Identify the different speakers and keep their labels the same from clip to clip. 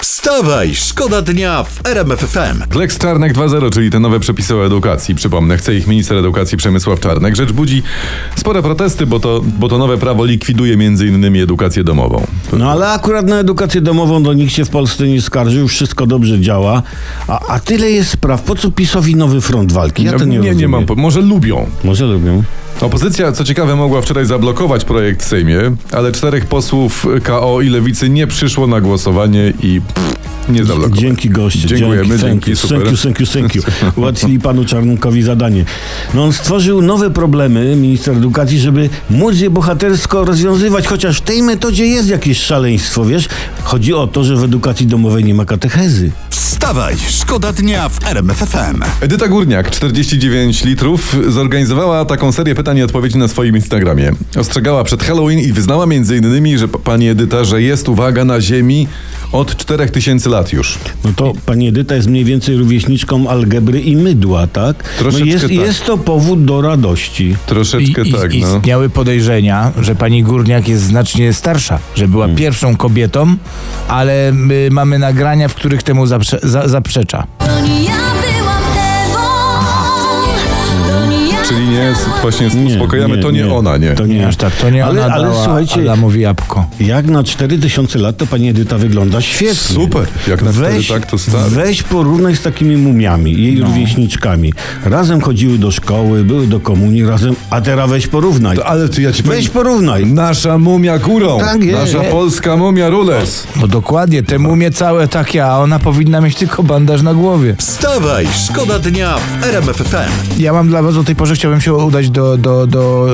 Speaker 1: Wstawaj, szkoda dnia w RMF FM.
Speaker 2: Lex Czarnek 2.0, czyli te nowe przepisy o edukacji. Przypomnę, chce ich minister edukacji Przemysław Czarnek. Rzecz budzi spore protesty, bo to, bo to nowe prawo likwiduje m.in. edukację domową.
Speaker 3: No ale akurat na edukację domową do nikt się w Polsce nie skarżył, wszystko dobrze działa. A, a tyle jest spraw. Po co PiSowi nowy front walki? Ja to nie,
Speaker 2: nie,
Speaker 3: rozumiem.
Speaker 2: nie mam. po- Może lubią.
Speaker 3: Może lubią.
Speaker 2: Opozycja, co ciekawe, mogła wczoraj zablokować projekt w Sejmie, ale czterech posłów KO i Lewicy nie przyszło na głosowanie i pff, nie zablokowali.
Speaker 3: Dzięki goście.
Speaker 2: No Dziękujemy,
Speaker 3: dzięki,
Speaker 2: dzięki,
Speaker 3: thank you,
Speaker 2: super.
Speaker 3: thank you, thank you, thank you. Ułatwili panu Czarnkowi zadanie. No on stworzył nowe problemy, minister edukacji, żeby móc je bohatersko rozwiązywać, chociaż w tej metodzie jest jakieś szaleństwo, wiesz? Chodzi o to, że w edukacji domowej nie ma katechezy.
Speaker 1: Wstawaj, szkoda dnia w RMF FM.
Speaker 2: Edyta Górniak, 49 litrów, zorganizowała taką serię pytań i odpowiedzi na swoim Instagramie. Ostrzegała przed Halloween i wyznała między innymi, że p- pani Edyta, że jest uwaga na Ziemi od 4000 lat już.
Speaker 3: No to pani Edyta jest mniej więcej rówieśniczką algebry i mydła, tak?
Speaker 2: Troszeczkę
Speaker 3: no jest,
Speaker 2: tak.
Speaker 3: jest to powód do radości.
Speaker 2: Troszeczkę
Speaker 4: I, i,
Speaker 2: tak, no.
Speaker 4: Istniały podejrzenia, że pani Górniak jest znacznie starsza, że była
Speaker 3: Hmm.
Speaker 4: pierwszą kobietą, ale my mamy nagrania, w których temu zaprze, za, zaprzecza.
Speaker 5: To nie ja byłam tebą. To nie ja
Speaker 2: Czyli nie, s- właśnie s- uspokajamy, to nie, ona, nie.
Speaker 3: To nie
Speaker 4: Aż tak, to nie
Speaker 3: ale,
Speaker 4: ona
Speaker 3: ale
Speaker 4: dała
Speaker 3: słuchajcie,
Speaker 4: Adamowi jabłko.
Speaker 3: jak na 4000 lat to pani Edyta wygląda świetnie.
Speaker 2: Super, jak na
Speaker 3: Weź,
Speaker 2: wtedy tak, to stary.
Speaker 3: weź porównaj z takimi mumiami, jej
Speaker 4: No.
Speaker 3: rówieśniczkami. Razem chodziły do szkoły, były do komunii razem, a teraz weź porównaj.
Speaker 2: To- Ale ty, ja ci
Speaker 3: Weź
Speaker 2: powiem,
Speaker 3: porównaj.
Speaker 2: Nasza mumia górą,
Speaker 3: Tak jest.
Speaker 2: nasza polska mumia rules.
Speaker 4: No dokładnie, temu umie całe takie, a ona powinna mieć tylko bandaż na głowie.
Speaker 1: Wstawaj, szkoda dnia w RMF FM.
Speaker 4: Ja mam dla was o tej porze, chciałbym się udać do, do, do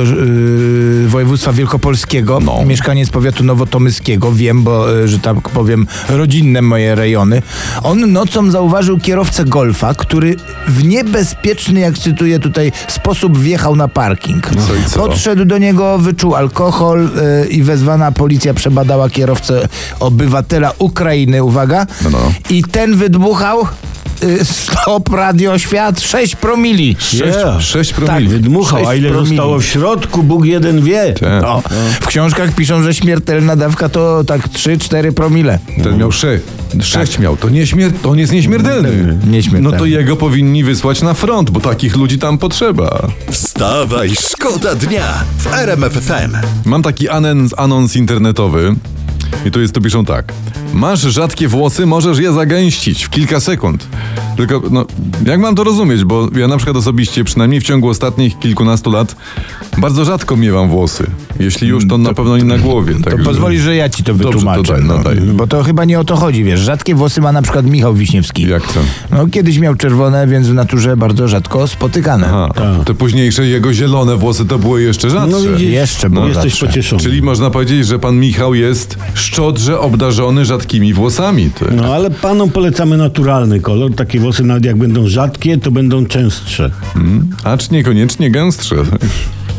Speaker 4: yy, województwa wielkopolskiego. No. Mieszkaniec powiatu nowotomyskiego, wiem, bo, yy, że tak powiem, rodzinne moje rejony. On nocą zauważył kierowcę Golfa, który w niebezpieczny, jak cytuję tutaj, sposób wjechał na parking.
Speaker 2: No. Co i co?
Speaker 4: Podszedł do niego, wyczuł alkohol yy, i wezwana policja przebadała kierowcę obywatela Ukrainy, uwaga.
Speaker 2: No, no.
Speaker 4: I ten wydmuchał... yy, Stop Radio Świat 6 promili.
Speaker 2: Sześć,
Speaker 3: Yeah.
Speaker 2: sześć
Speaker 3: Tak,
Speaker 2: promili.
Speaker 3: wydmuchał,
Speaker 4: Sześć
Speaker 3: a ile
Speaker 4: promili.
Speaker 3: zostało w środku, Bóg jeden wie. No.
Speaker 2: Tak.
Speaker 4: O, w książkach piszą, że śmiertelna dawka to tak 3-4 promile.
Speaker 2: Ten miał sze, sześć miał. To, nie śmier- to on jest nieśmiertelny.
Speaker 4: Nieśmiertelny.
Speaker 2: No to jego powinni wysłać na front, bo takich ludzi tam potrzeba.
Speaker 1: Wstawaj, szkoda dnia w RMF FM.
Speaker 2: Mam taki anons, anons internetowy. I tu jest, tu piszą tak. Masz rzadkie włosy, możesz je zagęścić w kilka sekund. Tylko, no, jak mam to rozumieć? Bo ja na przykład osobiście, przynajmniej w ciągu ostatnich kilkunastu lat, bardzo rzadko miewam włosy. Jeśli już, to, na pewno nie na głowie. tak
Speaker 4: To
Speaker 2: także-
Speaker 4: pozwoli, że ja ci to
Speaker 2: Mm. Dobrze, to
Speaker 4: wytłumaczę.
Speaker 2: daj, no
Speaker 4: no.
Speaker 2: daj.
Speaker 4: Bo to chyba nie o to chodzi, wiesz. Rzadkie włosy ma na przykład Michał Wiśniewski.
Speaker 2: Jak to?
Speaker 4: No kiedyś miał czerwone, więc w naturze bardzo rzadko spotykane.
Speaker 2: Aha, te późniejsze jego zielone włosy to były jeszcze rzadsze.
Speaker 3: Tak. No widzisz,
Speaker 4: Jeszcze było
Speaker 3: jesteś
Speaker 4: zawsze.
Speaker 3: pocieszony.
Speaker 2: Czyli można powiedzieć, że pan Michał jest szczodrze obdarzony rzadkimi włosami. Ty.
Speaker 3: No ale panom polecamy naturalny kolor. Takie włosy nawet jak będą rzadkie, to będą częstsze.
Speaker 2: Acz niekoniecznie gęstsze.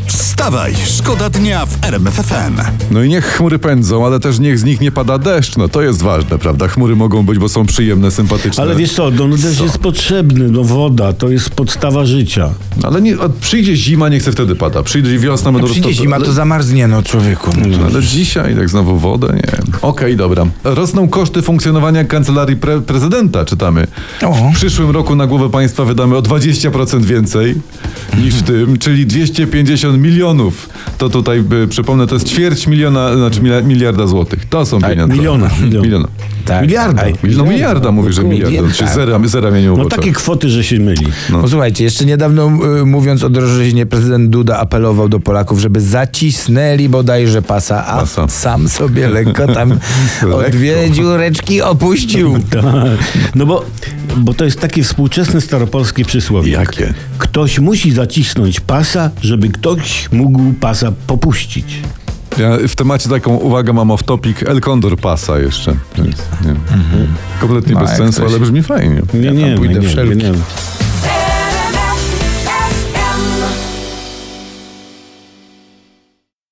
Speaker 1: Wstawaj, szkoda dnia w RMF FM.
Speaker 2: No i niech chmury pędzą, ale też niech z nich nie pada deszcz. No to jest ważne, prawda? Chmury mogą być, bo są przyjemne, sympatyczne.
Speaker 3: Ale wiesz co, no też jest potrzebny, no woda, to jest podstawa życia.
Speaker 2: No, Ale nie, a przyjdzie zima, nie chce wtedy pada. Przyjdzie wiosna, będą
Speaker 4: Przyjdzie
Speaker 2: roztop-
Speaker 4: zima, No, to zamarznie, no człowieku.
Speaker 2: Ale dzisiaj tak znowu wodę, nie. Okej, dobra. Rosną koszty funkcjonowania kancelarii pre prezydenta, czytamy.
Speaker 4: O.
Speaker 2: W przyszłym roku na głowę państwa wydamy o 20% więcej niż w tym, czyli 250 milionów. To tutaj y, przypomnę, to jest ćwierć miliona, znaczy mila- miliarda złotych. To są pieniądze.
Speaker 3: miliona, miliona.
Speaker 2: miliona.
Speaker 4: Tak.
Speaker 3: Miliarda.
Speaker 4: Aj,
Speaker 2: No miliarda mówię, że miliarda.
Speaker 4: Miliarda.
Speaker 2: Czy zera, zera mnie nie
Speaker 3: No
Speaker 2: uboczę.
Speaker 3: takie kwoty, że się myli.
Speaker 2: No.
Speaker 4: Posłuchajcie, jeszcze niedawno y, mówiąc o drożyźnie, prezydent Duda apelował do Polaków, żeby zacisnęli bodajże pasa, a
Speaker 2: Pasa.
Speaker 4: sam sobie lekko tam
Speaker 2: Lekko.
Speaker 4: odwiedził reczki, opuścił.
Speaker 3: No bo, bo to jest takie współczesne staropolskie przysłowie.
Speaker 2: Jakie?
Speaker 3: Ktoś musi zacisnąć pasa, żeby ktoś mógł pasa popuścić.
Speaker 2: Ja w temacie taką uwagę mam off topic. El Condor pasa jeszcze. Więc, nie. Kompletnie
Speaker 4: No,
Speaker 2: bez
Speaker 4: jak
Speaker 2: sensu,
Speaker 4: coś.
Speaker 2: ale brzmi fajnie.
Speaker 3: Nie, nie,
Speaker 4: pójdę
Speaker 3: nie, nie,
Speaker 4: wszelki.
Speaker 3: nie.